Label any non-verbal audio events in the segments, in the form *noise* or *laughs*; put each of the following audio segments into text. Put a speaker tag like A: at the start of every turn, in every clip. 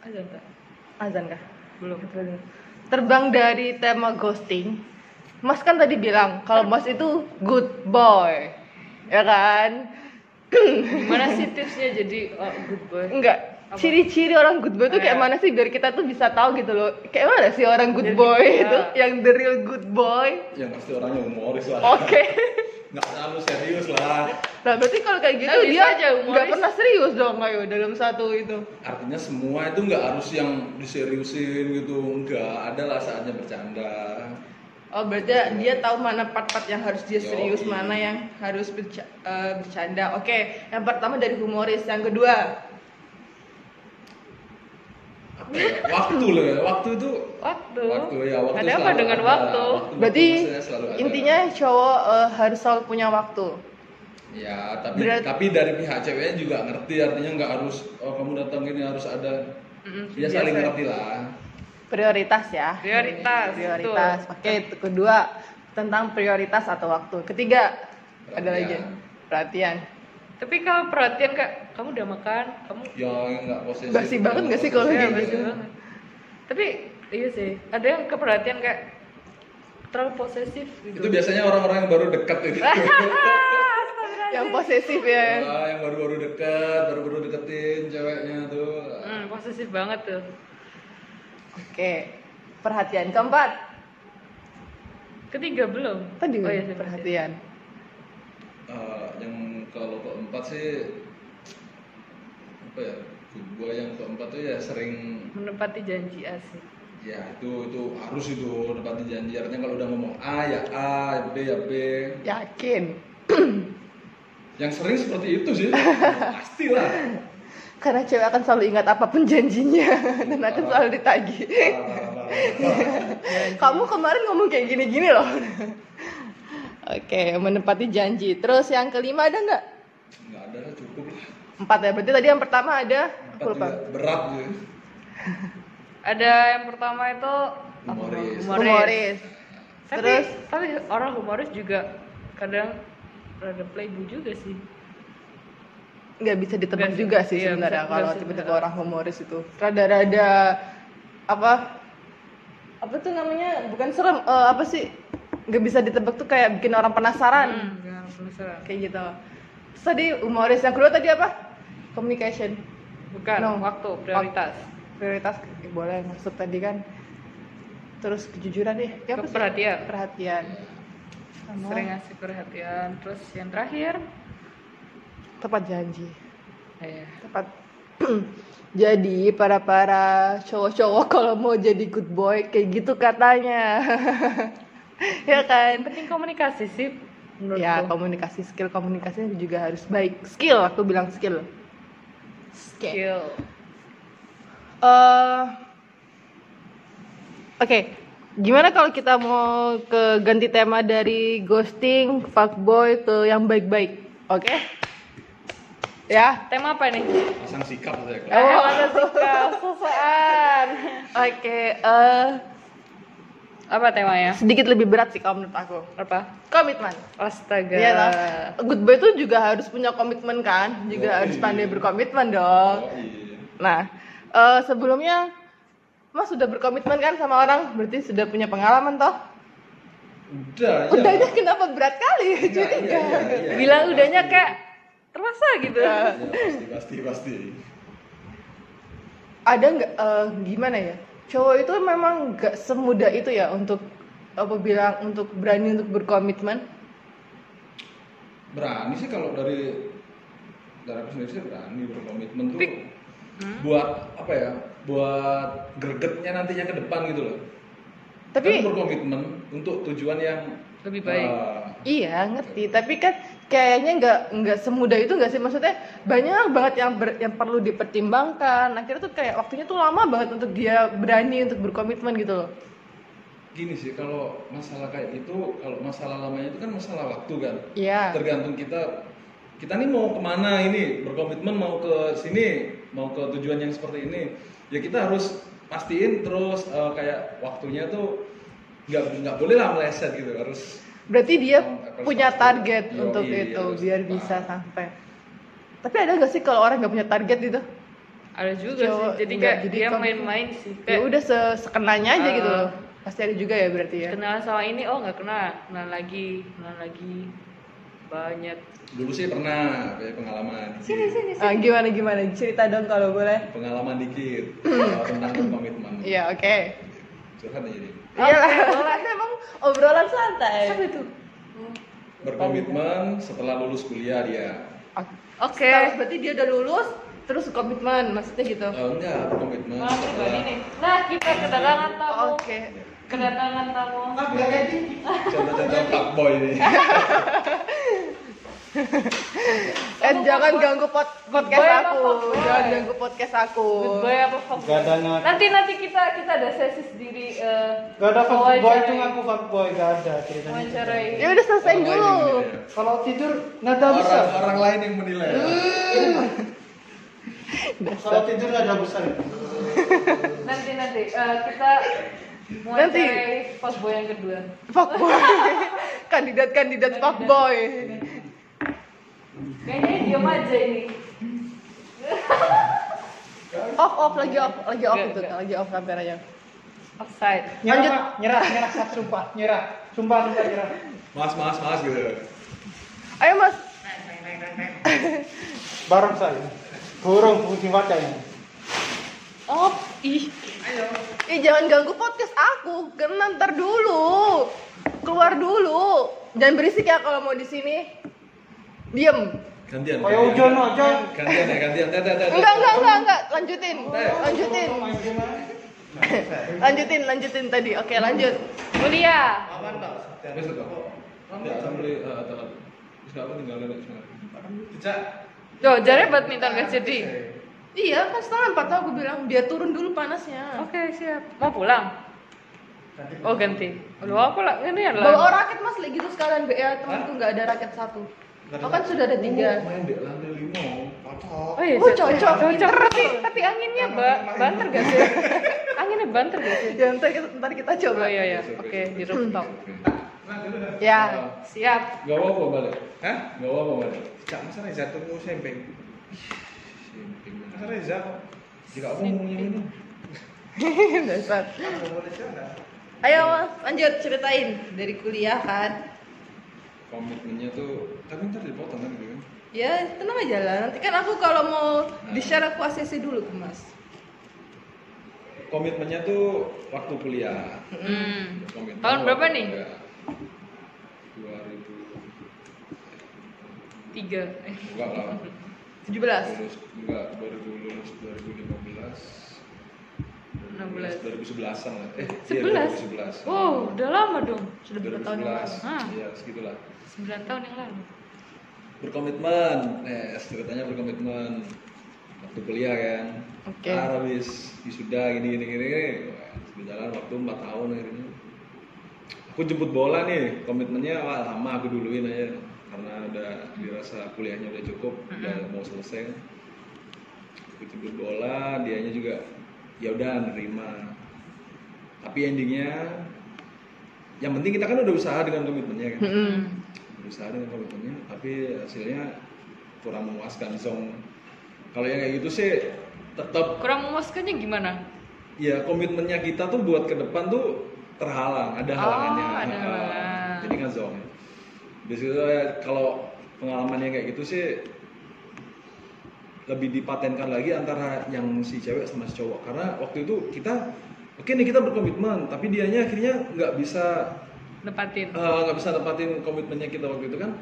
A: Azan Kak?
B: Eh, Azan kah?
A: Belum.
B: Terbang dari tema ghosting. Mas kan tadi bilang kalau Mas itu good boy. Ya kan? *clears throat*
A: Gimana sih tipsnya jadi oh, good boy?
B: Enggak.
A: Apa?
B: Ciri-ciri orang good boy tuh kayak
A: Iya.
B: mana sih biar kita tuh bisa tahu gitu loh. Kayak mana sih orang good
A: Jadi,
B: boy
A: iya.
B: itu yang the real good boy?
C: Ya pasti orangnya humoris lah.
B: Oke.
C: *laughs* Nggak selalu serius lah.
B: *laughs* Nah, berarti kalau kayak gitu
A: Nah, bisa
B: dia
A: aja humoris.
B: nggak pernah serius dong ayo dalam satu itu.
C: Artinya semua itu nggak harus yang diseriusin gitu. Enggak, ada lah saatnya bercanda.
B: Oh, berarti dia tahu mana part-part yang harus dia
C: Yoi.
B: serius, mana yang harus berca- eh, bercanda. Oke, yang pertama dari humoris, yang kedua
C: Apa
B: *laughs*
C: ya? Waktu loh ya, waktu itu
A: Waktu.
C: waktu ya waktu
A: Ada apa
C: selalu
A: dengan
C: ada.
A: waktu?
C: itu
B: Berarti
C: maksudnya selalu ada.
B: intinya cowok eh, harus selalu punya waktu.
C: ya tapi
B: Berat-
C: tapi dari pihak ceweknya juga ngerti artinya nggak harus oh kamu datang ini harus ada
A: Mm-mm.
C: dia saling
B: Biasa.
C: ngerti lah
B: Prioritas ya.
A: Prioritas,
B: Prioritas. Oke, itu kedua tentang prioritas atau waktu. Ketiga ada
C: Perhatian.
B: lagi perhatian.
A: Tapi kalau perhatian Kak, kamu udah makan, kamu
C: ya nggak posesif
B: Basi banget nggak sih kalau
C: Iya,
B: kayak
C: basi
B: gitu?
C: banget.
A: Tapi iya sih, ada yang keperhatian Kak terlalu posesif gitu. *laughs*
C: itu biasanya orang-orang yang baru gitu. dekat
B: *laughs*
C: itu
A: Astagfirullahaladzim.
B: Yang posesif ya.
C: Ah, yang baru-baru dekat baru-baru deketin ceweknya tuh
A: Hmm, posesif banget tuh.
B: Oke. Perhatian keempat.
A: Ketiga belum.
B: Tadi
A: oh, iya, sih,
B: perhatian.
C: Eh, yang kalau keempat sih apa ya gue yang keempat tuh ya sering
A: Menepati janji asik.
C: Ya itu itu harus itu tepati janji artinya kalau udah ngomong A ya A, B ya B.
B: Yakin.
C: Yang sering seperti itu sih. Ya, Pastilah.
B: Karena cewek akan selalu ingat apapun janjinya dan akan selalu ditagih. Kamu kemarin ngomong kayak gini-gini loh. Oke, menepati janji. Terus yang kelima ada nggak?
C: Enggak ada lah cukup lah.
B: Empat ya. Berarti tadi yang pertama ada.
C: Empat
B: Aku lupa.
C: juga berat gitu.
A: Ada yang pertama itu apa?
C: Humoris.
A: Humoris.
B: Humoris.
A: Tapi,
B: Terus?
A: tapi orang humoris juga kadang rada playboy juga sih.
B: Nggak bisa ditebak
A: Nggak sih.
B: juga sih
A: Iya,
B: sebenarnya
A: bisa-
B: kalau
A: nggak sih
B: tiba-tiba
A: beneran.
B: orang humoris itu. Rada-rada apa? Apa tuh namanya? Bukan serem. eh, apa sih? Nggak bisa ditebak tuh kayak bikin orang penasaran.
A: Hmm, jangan penasaran.
B: Kayak gitu. Terus tadi humoris yang kedua tadi apa? Communication.
A: Bukan
B: No.
A: waktu prioritas.
B: prioritas eh, boleh maksud tadi kan terus kejujuran deh ya apa sih?
A: Keperhatian.
B: perhatian sama
A: Sering ngasih perhatian. Terus yang terakhir,
B: tepat janji
A: eh,
B: tepat *clears throat* jadi para para cowok-cowok kalau mau jadi good boy kayak gitu katanya *laughs* ya
A: yang
B: kan
A: penting komunikasi sih menurutku.
B: ya komunikasi skill komunikasinya juga harus baik skill aku bilang skill skill
A: Skill.
B: Eh, Oke, gimana kalau kita mau ke ganti tema dari ghosting, fuckboy ke yang baik-baik, oke? Ya,
A: Tema apa nih?
C: Pasang sikap saya
A: *laughs*
C: kalau.
B: Oh.
A: Eh, masa sikap, sosokan.
B: oke. eh,
A: Apa temanya?
B: sedikit lebih berat sih kalau menurut aku.
A: Apa?
B: Komitmen.
A: Astaga.
B: Iya lah. Good boy tuh juga harus punya komitmen kan, juga
C: Yoi.
B: harus pandai berkomitmen dong.
C: Oh, iya.
B: Nah, eh, sebelumnya Mas sudah berkomitmen kan sama orang, berarti sudah punya pengalaman toh?
C: Udah, iya.
B: Udahnya kenapa berat kali?
C: Iya,
B: Jadi
C: iya, iya, iya,
A: Bilang
C: iya,
A: udahnya kan?
C: pasti.
A: kayak terasa gitu.
B: Ya. Eh,
C: Iya, pasti pasti pasti.
B: ada nggak eh, gimana ya cowok itu memang nggak semudah itu ya untuk apa bilang untuk berani untuk berkomitmen
C: Berani sih kalau dari dari aku sendiri sih berani berkomitmen tuh.
A: Tapi- Hmm?
C: Buat apa ya? Buat gregetnya nantinya ke depan gitu loh.
B: tapi
C: Kamu berkomitmen untuk tujuan yang
A: Lebih baik.
C: Ah,
B: iya ngerti tapi kan kayaknya nggak nggak semudah itu nggak sih maksudnya banyak banget yang ber- yang perlu dipertimbangkan akhirnya tuh kayak waktunya tuh lama banget untuk dia berani untuk berkomitmen gitu loh
C: gini sih kalau masalah kayak gitu, kalau masalah lamanya itu kan masalah waktu kan.
B: iya
C: Tergantung kita kita nih mau kemana ini berkomitmen mau ke sini mau ke tujuan yang seperti ini ya kita harus pastiin terus eh, kayak waktunya tuh nggak nggak boleh lah meleset gitu harus
B: berarti dia
C: Tergantung.
B: punya target
C: Yoi,
B: untuk
C: iya,
B: itu
C: harus
B: biar
C: tepat.
B: bisa sampai tapi ada nggak sih kalau orang nggak punya target gitu
A: ada juga
B: Cowok
A: sih jadi
B: enggak,
A: kayak
B: jadi
A: dia
B: kamu-
A: main-main sih
B: ya
A: kayak
B: udah se- sekenanya aja gitu
A: Ah.
B: loh pasti ada juga ya berarti ya
A: kenalan sama ini oh nggak kenal kenal lagi kenal lagi banyak
C: dulu sih pernah kayak pengalaman dikit.
B: Ah, gimana gimana cerita dong kalau boleh
C: pengalaman dikit kalau tentang komitmen
B: Iya oke
C: curhat aja jadi
B: iyalah emang obrolan Iya. santai
A: siapa itu
C: berkomitmen setelah lulus kuliah dia
B: oke
A: oke
B: berarti dia udah lulus terus komitmen maksudnya gitu
C: Eh, enggak berkomitmen
A: Nah, coba
C: setelah
A: ini. Nah, kita kedatangan tamu.
B: oke
A: Kedatangan tamu.
C: contoh-contoh fuckboy ini
B: eh jangan ganggu pod- podcast
A: Goodbye apa
B: aku
A: fuckboy?
B: jangan ganggu podcast aku
A: Goodbye apa fuckboy?
D: Gak ada ngaku.
A: Nanti nanti kita kita ada sesi sendiri eh
D: Gak ada fuckboy
A: wawancarai-
D: itu ngaku fuckboy, gak ada ceritanya. gitu.
A: Wawancarai.
B: ya udah selesai
C: Orang lain
B: dulu
C: yang menilai.
D: Kalau tidur nggak ada besar.
C: orang, orang lain yang menilai
D: Kalau tidur nggak ada besar.
A: Nanti nanti eh, kita
B: Nanti.
A: wawancarai fuckboy yang kedua.
B: fuckboy *laughs* kandidat kandidat fuckboy
A: Kayaknya diam aja ini.
B: off off lagi off lagi off
A: Enggak,
B: itu
A: enggak.
B: lagi off kameranya
A: Offside.
D: Nyerah,
B: Lanjut.
D: Pak. nyerah, nyerah, Sak. sumpah, nyerah, sumpah, sumpah, nyerah.
C: mas mas mas gitu
B: ayo mas
D: Bareng saya, burung kucing wadah ini.
A: Oh, ih.
B: Ih, jangan ganggu podcast aku. Karena ntar dulu. Keluar dulu. Jangan berisik ya kalau mau di sini. Diem.
C: gantian
D: Kayak hujan aja.
C: gantian ya gantian tet tet tet
B: Enggak, enggak, enggak, enggak. Lanjutin.
C: Eh.
B: Lanjutin. Lanjutin, lanjutin tadi. Oke, lanjut.
A: Kuliah.
C: Wes tetep. Enggak, kan beli, eh, tetep. Terus nggak apa, tinggal lele, semangat.
A: Tuh, jarnya badminton gak jadi.
B: Iya, kan setengah empat tahu aku bilang biar turun dulu panasnya.
A: Oke, siap. Mau pulang? Oh, ganti. Lu aku lah ini ya
B: Bawa
A: lah.
B: raket mas, lagi gitu sekalian. Ya, temanku nggak ada raket satu.
D: Nggak ada
B: Oh kan sudah ada tiga.
C: Main dek lantai lima.
A: Oh iya,
B: Oh,
A: cocok.
B: cocok.
A: Cocok.
B: Pinter.
A: Tapi, tapi anginnya ba- banter gak
B: *laughs*
A: sih? Anginnya banter gak sih?
B: Ya, ntar kita, ntar kita
A: Oh
B: coba.
A: iya iya, oke di rooftop.
C: Oke.
B: *laughs* Ya.
A: Siap.
C: Nggak Ah, apa-apa balik.
E: Hah?
C: Nggak apa-apa balik.
E: Cak Mas Reza tunggu sempeng. Mas Reza kok.
C: Jika aku ngomongnya ini.
B: Dasar.
E: Aku mau Reza enggak?
B: Ayo mas, lanjut ceritain dari kuliah kan.
C: Komitmennya tuh, tapi ntar dipotong kan gitu kan.
B: Ya tenang aja lah. Nanti kan aku kalau mau di share aku ACC dulu ke Mas.
C: Komitmennya tuh waktu kuliah.
A: Hmm.
C: Komitmen
A: Tahun berapa
C: waktu
A: nih?
C: kuliah.
A: 3.
C: 2000. Enggak lah.
B: 17.
C: Lulus enggak 2000 lulus 2015.
A: 16.
C: Iya, 2011-an lah. Eh, iya
A: 11.
C: 2011.
A: Wow, Oh, udah lama dong. Sudah berapa tahun yang lalu? Ah.
C: 2011.
A: Hah,
C: Iya, segitulah.
A: 9 tahun yang lalu.
C: berkomitmen eh ceritanya berkomitmen waktu kuliah kan
B: Oke.
C: Ah, habis wisuda gini gini gini Wah, berjalan waktu 4 tahun akhirnya aku jemput bola nih komitmennya wah, lama aku duluin aja karena udah dirasa kuliahnya udah cukup udah mau selesai aku jemput bola dianya juga ya udah nerima tapi endingnya yang penting kita kan udah usaha dengan komitmennya kan
B: Mm-mm.
C: berusaha dengan komitmennya tapi hasilnya kurang memuaskan song kalau yang kayak gitu sih tetap
A: Kurang memuaskannya gimana?
C: ya komitmennya kita tuh buat ke depan tuh terhalang ada
A: Oh,
C: halangannya
A: ada halangan.
C: jadi kan zong di situ ya, kalau pengalamannya kayak gitu sih lebih dipatenkan lagi antara yang si cewek sama si cowok karena waktu itu kita oke nih kita berkomitmen tapi dianya akhirnya nggak bisa
A: Nepatin.
C: Eh, nggak bisa nepatin komitmennya kita waktu itu kan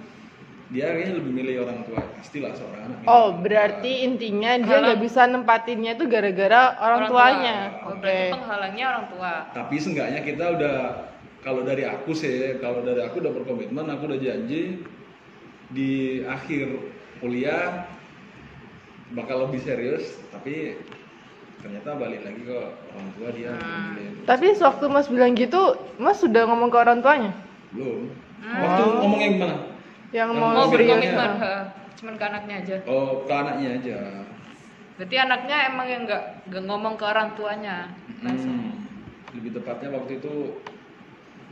C: dia kayaknya lebih milih orang tua pastilah seorang anak
B: Oh
C: milih orang tua.
B: berarti intinya dia nggak
A: Kalau-
B: bisa nempatinnya itu gara-gara orang,
A: Orang tua.
B: tuanya.
A: Oh,
B: Oke.
A: berarti penghalangnya orang tua.
C: tapi seenggaknya kita udah kalau dari aku sih kalau dari aku udah berkomitmen aku udah janji di akhir kuliah bakal lebih serius tapi ternyata balik lagi ke orang tua dia
A: Hmm.
C: milih.
B: Tapi sewaktu Mas bilang gitu, Mas sudah ngomong ke orang tuanya
C: belum
A: Hmm.
C: waktu ngomongnya gimana
B: yang
C: Yang
B: mau
A: Mau
C: Oh,
B: serius. Iya.
A: berkomitmen, heeh. cuman ke anaknya aja.
C: oh ke anaknya aja
A: Berarti anaknya emang yang nggak nggak ngomong ke orang tuanya. Langsung. *laughs*
C: Hmm. lebih tepatnya waktu itu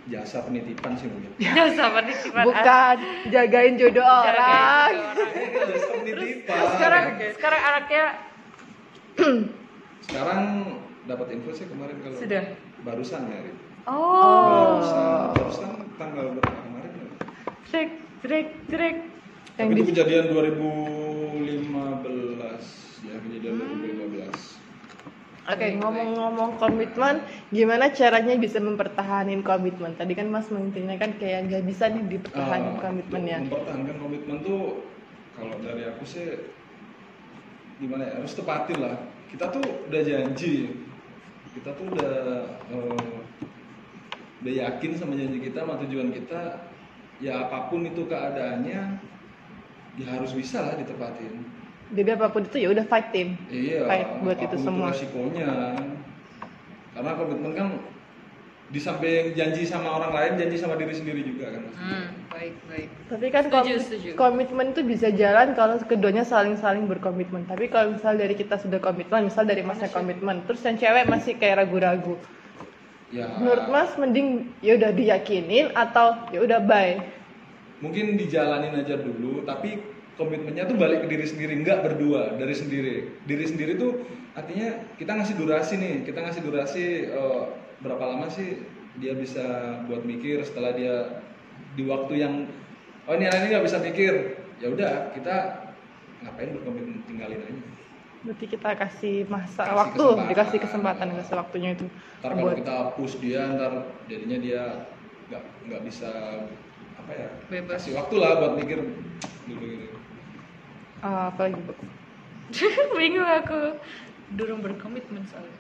C: jasa penitipan sih mungkin
A: Jasa penitipan.
B: Bukan jagain jodoh
A: Jagain
B: orang.
A: orang.
C: Terus
A: Sekarang sekarang anaknya
C: Sekarang dapat info sih kemarin kalau
A: Sudah.
C: barusan ya. Rin.
A: Oh.
C: Barusan, barusan tanggal berapa kemarin? ya?
A: Cek, cek, cek.
B: Yang
C: Tapi itu
B: di-
C: kejadian 2015 ya kejadian 2015.
B: Oke,
C: Gitu.
B: ngomong-ngomong komitmen, gimana caranya bisa mempertahankan komitmen? Tadi kan Mas mengintinya kan kayak nggak bisa nih dipertahankan
C: Ah,
B: komitmennya.
C: untuk Mempertahankan komitmen tuh kalau dari aku sih gimana ya harus tepatin lah. Kita tuh udah janji, kita tuh udah eh, udah yakin sama janji kita, sama tujuan kita. Ya apapun itu keadaannya, ya harus bisa lah ditepatin.
B: Jadi apapun itu ya udah fight team.
C: Iya.
B: Baik, buat
C: apapun
B: itu semua.
C: resikonya. Karena komitmen kan di samping janji sama orang lain, janji sama diri sendiri juga kan. Mas.
A: Hmm, baik, baik. *laughs*
B: Tapi kan
A: Setuju,
B: komit-
A: setuju.
B: komitmen itu bisa jalan kalau keduanya saling-saling berkomitmen. Tapi kalau misal dari kita sudah komitmen, misal dari masnya komitmen, terus yang cewek masih kayak ragu-ragu.
C: Ya.
B: Menurut Mas mending ya udah diyakinin atau ya udah bye.
C: Mungkin dijalanin aja dulu, tapi komitmennya tuh balik ke diri sendiri, nggak berdua, dari sendiri. Diri sendiri tuh artinya kita ngasih durasi nih, kita ngasih durasi eh, berapa lama sih dia bisa buat mikir setelah dia di waktu yang oh ini anak ini nggak bisa mikir, ya udah kita ngapain berkomitmen tinggalin aja.
B: Berarti kita kasih masa
C: Kasih
B: waktu,
C: kesempatan.
B: dikasih kesempatan kasih waktunya itu
C: ntar kalau
B: buat
C: kita push dia ntar jadinya dia nggak nggak bisa apa ya
A: Bebas.
C: kasih waktu lah buat mikir dulu gitu
B: eh, apa lagi Bu?
A: Bingung aku. Durung berkomitmen soalnya.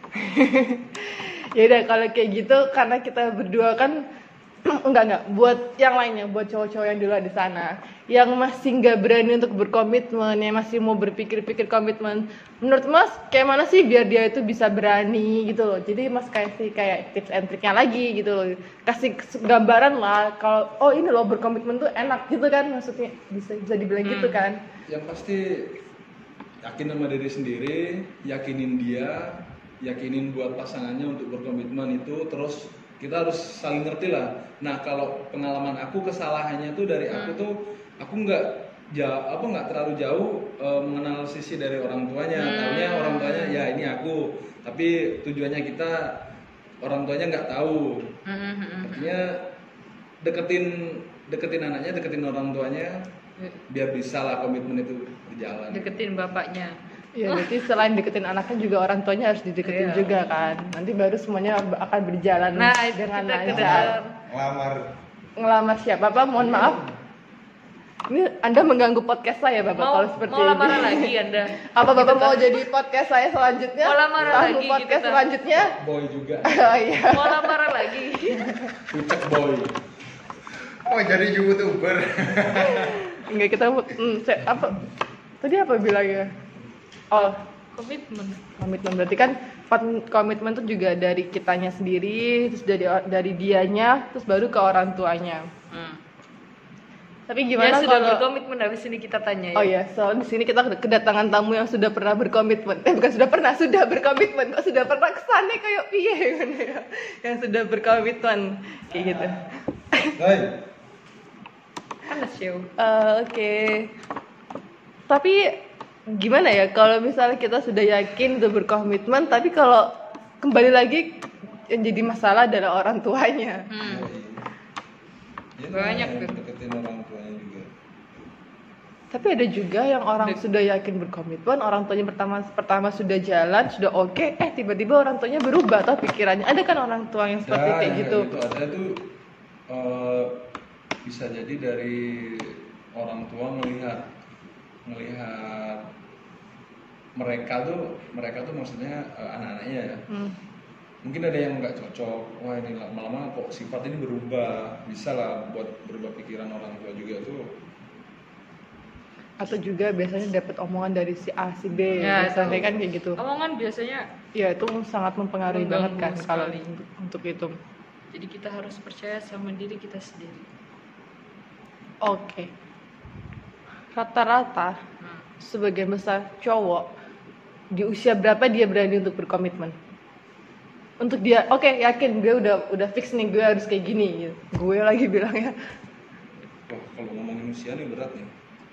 B: ya udah kalau kayak gitu karena kita berdua kan *clears throat* enggak enggak buat yang lainnya buat cowok-cowok yang dulu di sana yang masih nggak berani untuk berkomitmen yang masih mau berpikir-pikir komitmen menurut mas kayak mana sih biar dia itu bisa berani gitu loh jadi mas kasih kayak tips and triknya lagi gitu loh kasih kes- gambaran lah kalau oh ini loh berkomitmen tuh enak gitu kan maksudnya bisa bisa dibilang gitu kan
C: yang pasti yakin sama diri sendiri yakinin dia yakinin buat pasangannya untuk berkomitmen itu terus kita harus saling ngerti lah nah kalau pengalaman aku kesalahannya tuh dari aku tuh aku nggak jauh apa nggak terlalu jauh eh, mengenal sisi dari orang tuanya taunya orang tuanya ya ini aku tapi tujuannya kita orang tuanya nggak tahu
A: Hmm, hmm,
C: artinya deketin deketin anaknya deketin orang tuanya
A: hmm.
C: biar bisa lah komitmen itu berjalan
A: Deketin bapaknya.
B: Iya, berarti selain deketin anaknya juga orang tuanya harus dideketin
A: Iya.
B: juga kan. Nanti baru semuanya akan berjalan
A: Nah,
B: dengan
A: kita ke
B: lancar.
A: dalam.
E: Lamar.
B: Ngelamar siapa, Pak?
A: Iya.
B: Mohon maaf. Ini Anda mengganggu podcast saya, Bapak,
A: Mau,
B: kalau seperti
A: mau
B: ini.
A: lamaran lagi Anda?
B: Apa Bapak mau jadi podcast saya selanjutnya?
A: Mau lamaran
B: Tahu
A: lagi
B: podcast
A: gitu, Pak.
B: selanjutnya? *laughs*
C: boy juga
B: Oh iya.
A: Mau lamaran lagi? *laughs*
C: pucek boy
E: Oh jadi youtuber.
B: Enggak kita hmm, saya- apa tadi apa bilangnya? Oh,
A: Komitmen.
B: komitmen berarti kan pat- komitmen tuh juga dari kitanya sendiri, terus dari dari dianya, terus baru ke orang tuanya.
A: Hmm.
B: Tapi
A: ya
B: gimana
A: sudah
B: kalau
A: berkomitmen habis ini kita tanya ya.
B: Oh ya, soal di sini kita kedatangan tamu yang sudah pernah berkomitmen. Eh bukan sudah pernah, sudah berkomitmen. Kok sudah pernah kesannya kayak piye *laughs* gitu ya. Yang sudah berkomitmen kayak gitu.
C: Hai.
A: Panas ya.
B: Eh, Oke. Tapi gimana ya kalau misalnya kita sudah yakin sudah berkomitmen, tapi kalau kembali lagi yang jadi masalah adalah orang tuanya.
A: Hmm.
C: Ya,
A: Banyak
C: nah,
A: tuh.
C: deketin orang tuanya juga
B: Tapi ada juga yang orang sudah yakin berkomitmen, orang tuanya pertama pertama sudah jalan, sudah oke, eh tiba-tiba orang tuanya berubah atau pikirannya. Ada kan orang tua yang seperti
C: Ya,
B: kayak
C: yang
B: gitu.
C: kayak ada tuh eh, bisa jadi dari orang tua melihat melihat mereka tuh mereka tuh maksudnya eh, anak-anaknya ya
B: Hmm.
C: mungkin ada yang nggak cocok wah ini lama-lama kok sifat ini berubah bisa lah buat berubah pikiran orang tua juga tuh
B: Atau juga biasanya dapat omongan dari si A si B,
A: Ya,
B: biasanya
A: tahu.
B: kan kayak gitu.
A: Omongan biasanya
B: Ya itu sangat mempengaruhi banget kan
A: Mengganggu
B: kalau
A: sekali.
B: untuk- untuk itu.
A: jadi kita harus percaya sama diri kita sendiri.
B: Oke. Rata-rata
A: Hmm.
B: sebagian besar cowok di usia berapa dia berani untuk berkomitmen? Untuk dia, oke yakin gue udah udah fix nih gue harus kayak gini. Gitu. Gue lagi ya, bilangnya
C: wah kalau ngomongin usia nih berat nih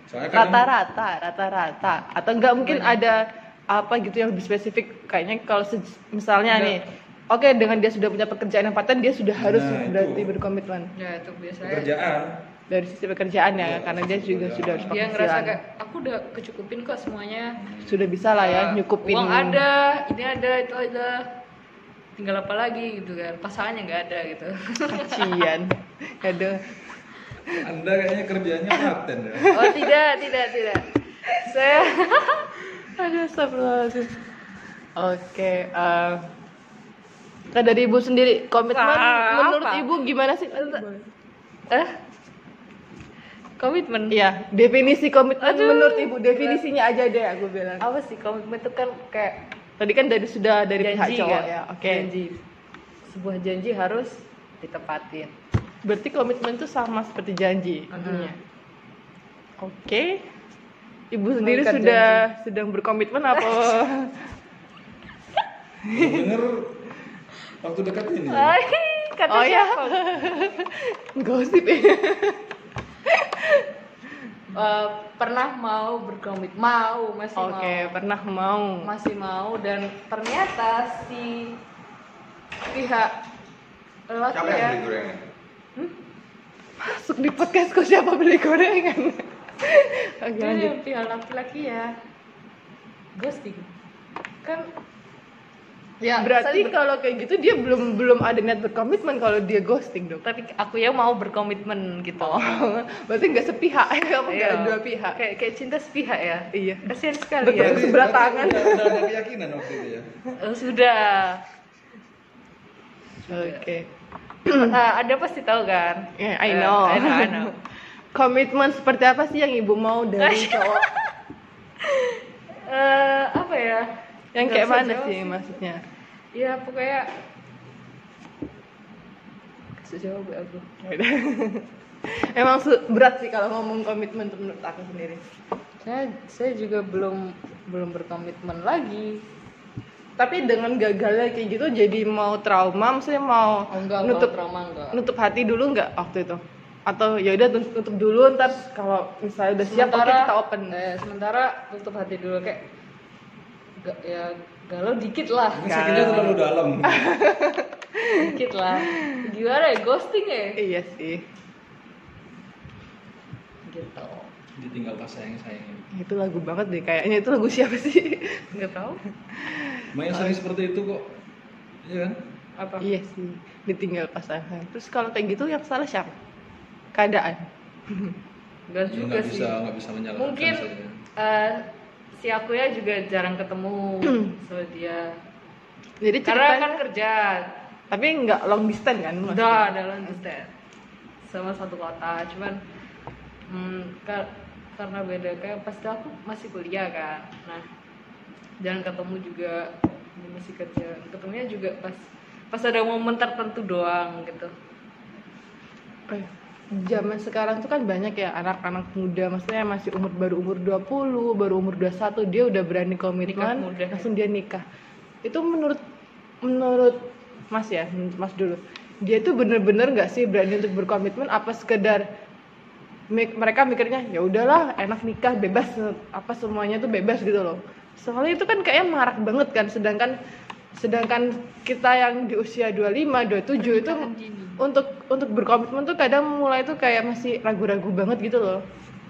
C: soalnya kadang
B: rata-rata, rata-rata. Atau enggak mungkin ada apa gitu yang lebih spesifik kayaknya kalau se- misalnya
C: Enggak.
B: nih oke dengan dia sudah punya pekerjaan yang paten dia sudah harus
C: Nah, itu.
B: berarti berkomitmen
A: ya itu biasanya
C: pekerjaan
B: dari sisi pekerjaan ya
C: Iya,
B: karena dia
C: sisi
B: juga
C: pekerjaan.
B: sudah harus
A: dia ngerasa
B: penghasilan.
A: kayak aku udah kecukupin kok semuanya
B: sudah bisa lah ya
A: Uh,
B: nyukupin
A: uang ada ini ada itu ada tinggal apa lagi gitu kan pasangannya nggak ada
B: *laughs*
A: gitu
B: kacian
A: *laughs*
B: aduh
C: anda kayaknya kerjanya paten ya
A: oh tidak tidak tidak saya
B: Aduh, astagfirullahaladzim. Oke, eh Kak, dari ibu sendiri komitmen
A: Wah,
B: menurut
A: apa?
B: ibu gimana sih?
A: eh komitmen
B: Iya, definisi komitmen
A: Aduh.
B: menurut ibu definisinya aja deh aku bilang.
A: apa sih komitmen itu kan kayak
B: Tadi kan dari sudah dari pihak
A: janji
B: cowok
A: kan?
B: ya, oke.
A: janji sebuah janji harus ditepatin
B: Berarti komitmen itu sama seperti janji intinya. Oke. Ibu sendiri
A: Mengikat
B: sudah sedang berkomitmen
A: *laughs*
B: apa?
C: denger waktu dekat ini
A: Ay, kata
B: Mm-hmm. Oh, ya?
A: siapa?
B: Gosip ya.
A: Eh, pernah mau berkomitmen mau masih
B: Oke,
A: mau
B: pernah mau.
A: masih mau dan ternyata si pihak
E: Siapa yang beli
A: lelaki ya
E: gorengan?
B: Masuk di podcast kok siapa beli gorengan? *laughs* Oke, lanjut.
A: itu Iya, pihak laki-laki ya ghosting kan ya
B: Berarti
A: saya ber-
B: kalau kayak gitu dia belum belum ada niat berkomitmen kalau dia ghosting dong. *laughs*
A: tapi aku ya mau berkomitmen gitu
B: Berarti nggak sepihak, *laughs* apa nggak
A: Iya.
B: dua pihak?
A: kayak kayak cinta sepihak ya
B: Iya.
A: *laughs* kasian sekali
B: Betul.
A: ya
C: Berarti-
B: sebelah
C: berarti
B: tangan.
C: udah, udah ada keyakinan waktu itu ya
A: Eh, *clears throat* sudah
B: Oke.
A: Ah, ada pasti tahu kan
B: Yeah, I
A: Eh,
B: know.
A: I know, I *laughs* know.
B: Komitmen seperti apa sih yang ibu mau
A: *laughs*
B: dari cowok?
A: Eh, apa ya
B: yang
A: Nggak
B: kayak
A: usah
B: mana
A: jawab
B: sih maksudnya? *laughs*
A: ya pokoknya kasih jawab ya aku
B: Yaudah. Emang su- berat sih kalau ngomong komitmen tuh menurut aku sendiri.
A: saya saya juga belum belum berkomitmen lagi
B: Tapi dengan gagalnya kayak gitu jadi mau trauma, maksudnya mau
A: oh, enggak
B: nutup
A: kalau trauma enggak
B: nutup hati dulu nggak waktu itu? Atau ya udah tut- tutup dulu ntar kalau misalnya udah siap oke kita open.
A: eh, sementara tutup hati dulu kayak ga- ya galau dikit lah
C: mungkin sakitnya terlalu dalam
A: *laughs* dikit lah gimana ya ghosting ya
B: Iya sih.
A: gitu
C: ditinggal pas sayang sayangnya
B: Itu lagu banget deh kayaknya itu lagu siapa
A: *laughs*
B: sih?
A: nggak tahu
C: Maya sering seperti itu kok iya kan
A: apa
B: Iya sih, ditinggal pasangan. Terus kalau kayak gitu yang salah siapa? Keadaan.
A: nggak
C: Ya,
A: juga
C: nggak
A: sih
C: bisa nggak bisa menyalahkan
A: mungkin
C: saja.
A: eh, si aku ya juga jarang ketemu sama dia
B: Jadi
A: karena kan
B: ceritanya,
A: kerja
B: tapi nggak long distance kan? maksudnya?
A: udah ada lanjutan sama satu kota cuman hmm, ka- karena beda kayak pasti aku masih kuliah kan nah jarang ketemu juga dia masih kerja ketemunya juga pas pas ada momen tertentu doang gitu
B: Eh, Zaman sekarang tuh kan banyak ya anak-anak muda, maksudnya masih umur baru umur 20, baru umur 21 dia udah berani
A: Nikah
B: komitmen,
A: muda.
B: langsung dia nikah. Itu menurut menurut Mas ya, menurut Mas dulu. Dia tuh bener-bener nggak sih berani untuk berkomitmen apa sekedar mik- mereka mikirnya ya udahlah enak nikah bebas apa semuanya tuh bebas gitu loh soalnya itu kan kayaknya marak banget kan sedangkan sedangkan kita yang di usia 25, 27 itu untuk untuk berkomitmen tuh kadang mulai tuh kayak masih ragu-ragu banget gitu loh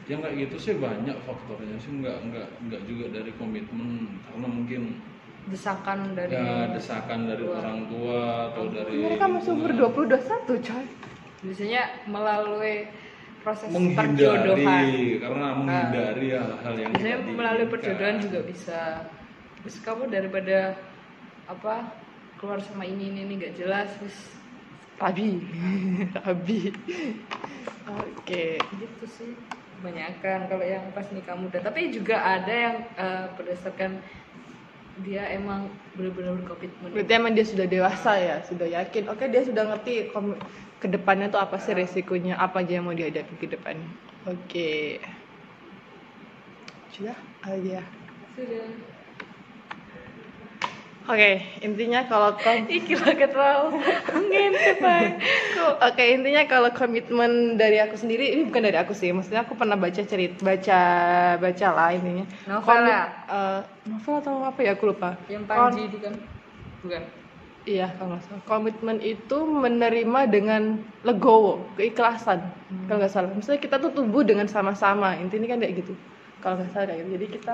C: yang kayak gitu sih banyak faktornya sih nggak nggak nggak juga dari komitmen karena mungkin
A: desakan dari
C: ya desakan dari
A: Tua.
C: orang tua atau dari
B: mereka masih umur 20, 21 coy
A: biasanya melalui proses perjodohan
C: menghindari karena menghindari hal-hal yang
A: Ah. biasanya
C: tidak
A: melalui
C: diinginkan.
A: perjodohan juga bisa terus kamu daripada apa keluar sama ini ini ini nggak jelas terus
B: rabi *laughs* rabi oke
A: gitu sih kebanyakan kalau yang pas nikah muda tapi juga ada yang eh, berdasarkan dia emang benar-benar berkomitmen
B: berarti emang dia sudah dewasa ya sudah yakin oke dia sudah ngerti kom- kedepannya tuh apa sih resikonya apa aja yang mau dihadapi ke depan oke Ah, iya. sudah aja
A: *laughs* sudah
B: intinya kalau kom
A: Ih gila terlalu ngintip Kok
B: *laughs* Oke intinya kalau komitmen dari aku sendiri ini bukan dari aku sih, maksudnya aku pernah baca cerita baca baca lah intinya.
A: Novel
B: Komit-
A: ya?
B: eh, novel atau apa ya aku lupa.
A: yang
B: Kon-
A: Panji itu kan? Bukan.
B: Iya kalau nggak salah. Komitmen itu menerima dengan legowo, keikhlasan kalau nggak salah. Maksudnya kita tuh tumbuh dengan sama-sama. Intinya kan kayak gitu. Kalau nggak salah kayak gitu. Jadi kita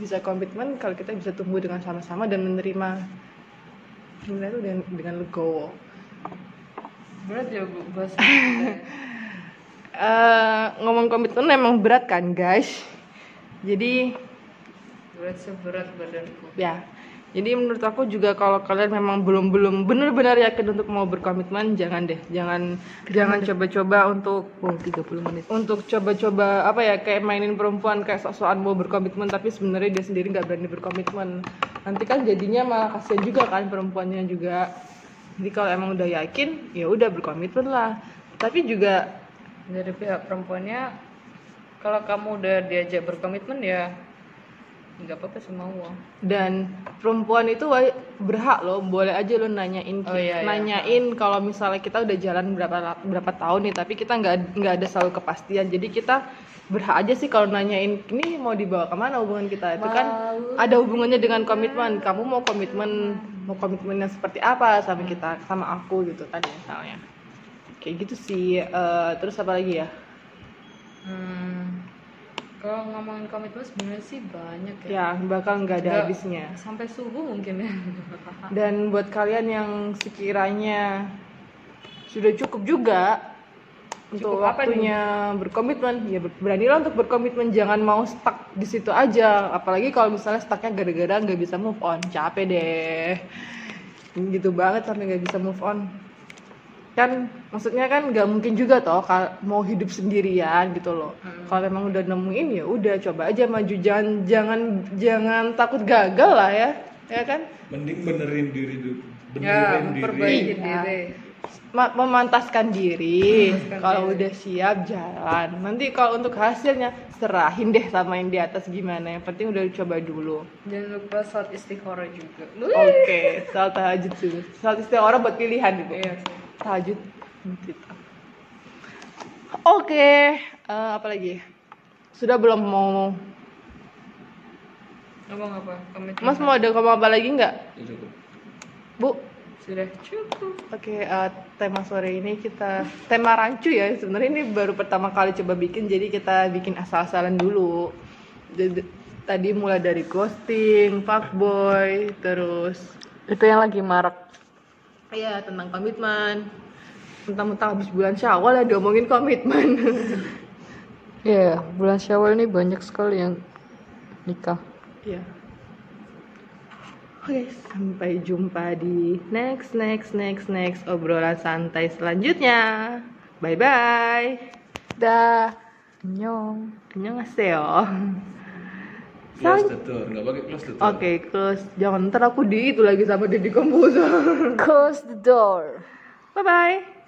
B: bisa komitmen kalau kita bisa tumbuh dengan sama-sama dan menerima menerima itu dengan, dengan legowo.
A: Berat ya bu bahasa.
B: Eh, ngomong komitmen emang berat kan guys jadi
A: Berat seberat badanku.
B: ya jadi menurut aku juga kalau kalian memang belum belum benar-benar yakin untuk mau berkomitmen jangan deh jangan jangan coba-coba untuk oh, 30 menit untuk coba-coba apa ya kayak mainin perempuan kayak sok-sokan mau berkomitmen tapi sebenarnya dia sendiri nggak berani berkomitmen nanti kan jadinya malah kasihan juga kan perempuannya juga jadi kalau emang udah yakin ya udah berkomitmen lah tapi juga
A: Dari pihak perempuannya, kalau kamu udah diajak berkomitmen ya nggak apa-apa sih mau.
B: dan perempuan itu wa- berhak loh boleh aja lo nanyain
A: Oh, iya, iya.
B: nanyain kalau misalnya kita udah jalan berapa la- berapa tahun nih tapi kita nggak nggak ada selalu kepastian jadi kita berhak aja sih kalau nanyain ini mau dibawa kemana hubungan kita itu kan ada hubungannya dengan komitmen kamu mau komitmen mau komitmennya seperti apa sama kita sama aku gitu tadi misalnya kayak gitu sih Eh, terus apa lagi ya
A: Hmm, kalau ngomongin komitmen sebenarnya sih banyak ya.
B: ya bakal nggak ada
A: Nggak-
B: habisnya
A: Ya, Sampai subuh mungkin ya.
B: Dan buat kalian yang sekiranya sudah cukup juga untuk
A: Cukup apa
B: waktunya berkomitmen, ya ber- beranilah untuk berkomitmen, jangan mau stuck di situ aja. Apalagi kalau misalnya stucknya gara-gara nggak bisa move on, capek deh. Gitu banget sampai nggak bisa move on. Kan maksudnya kan nggak mungkin juga toh kal- mau hidup sendirian gitu loh.
A: Hmm.
B: Kalau memang udah nemuin ya udah coba aja maju, jangan jangan jangan takut gagal lah ya, ya kan?
C: Mending benerin diri dulu.
A: ya,
C: Benerin diri.
A: memperbaiki
B: Iya.
A: diri.
B: Ma- memantaskan diri
A: Memantaskan
B: kalau
A: diri.
B: udah siap jalan nanti kalau untuk hasilnya serahin deh sama yang di atas gimana yang penting udah coba dulu
A: Jangan lupa saat istiqoroh juga.
B: oke soal tahajud dulu soal setiap orang buat pilihan gitu
A: Iya sih.
B: tahajud gitu. oke eh, apa lagi sudah belum mau
A: Ngomong apa? Komitmen.
B: mas mau ada ngomong apa lagi nggak
C: Ya, cukup.
B: bu
A: Sudah cukup.
B: Oke, eh, tema sore ini kita tema rancu ya. Sebenarnya ini baru pertama kali coba bikin, jadi kita bikin asal-asalan dulu. Jadi, tadi mulai dari ghosting, fuckboy, terus
A: Itu yang lagi marak.
B: Iya tentang komitmen. Mentang-mentang habis bulan Syawal ya diomongin komitmen. *laughs*
A: Ya, bulan Syawal ini banyak sekali yang nikah.
B: Iya. Oke, sampai jumpa di next next next next obrolan santai selanjutnya. Bye bye. Dah.
A: Nyong.
B: Annyeonghaseyo.
C: Close the door. Nggak pakai close the door.
B: Oke, close. Jangan ntar aku di itu lagi sama Deddy Komposer. *laughs*
A: Close the door.
B: Bye-bye.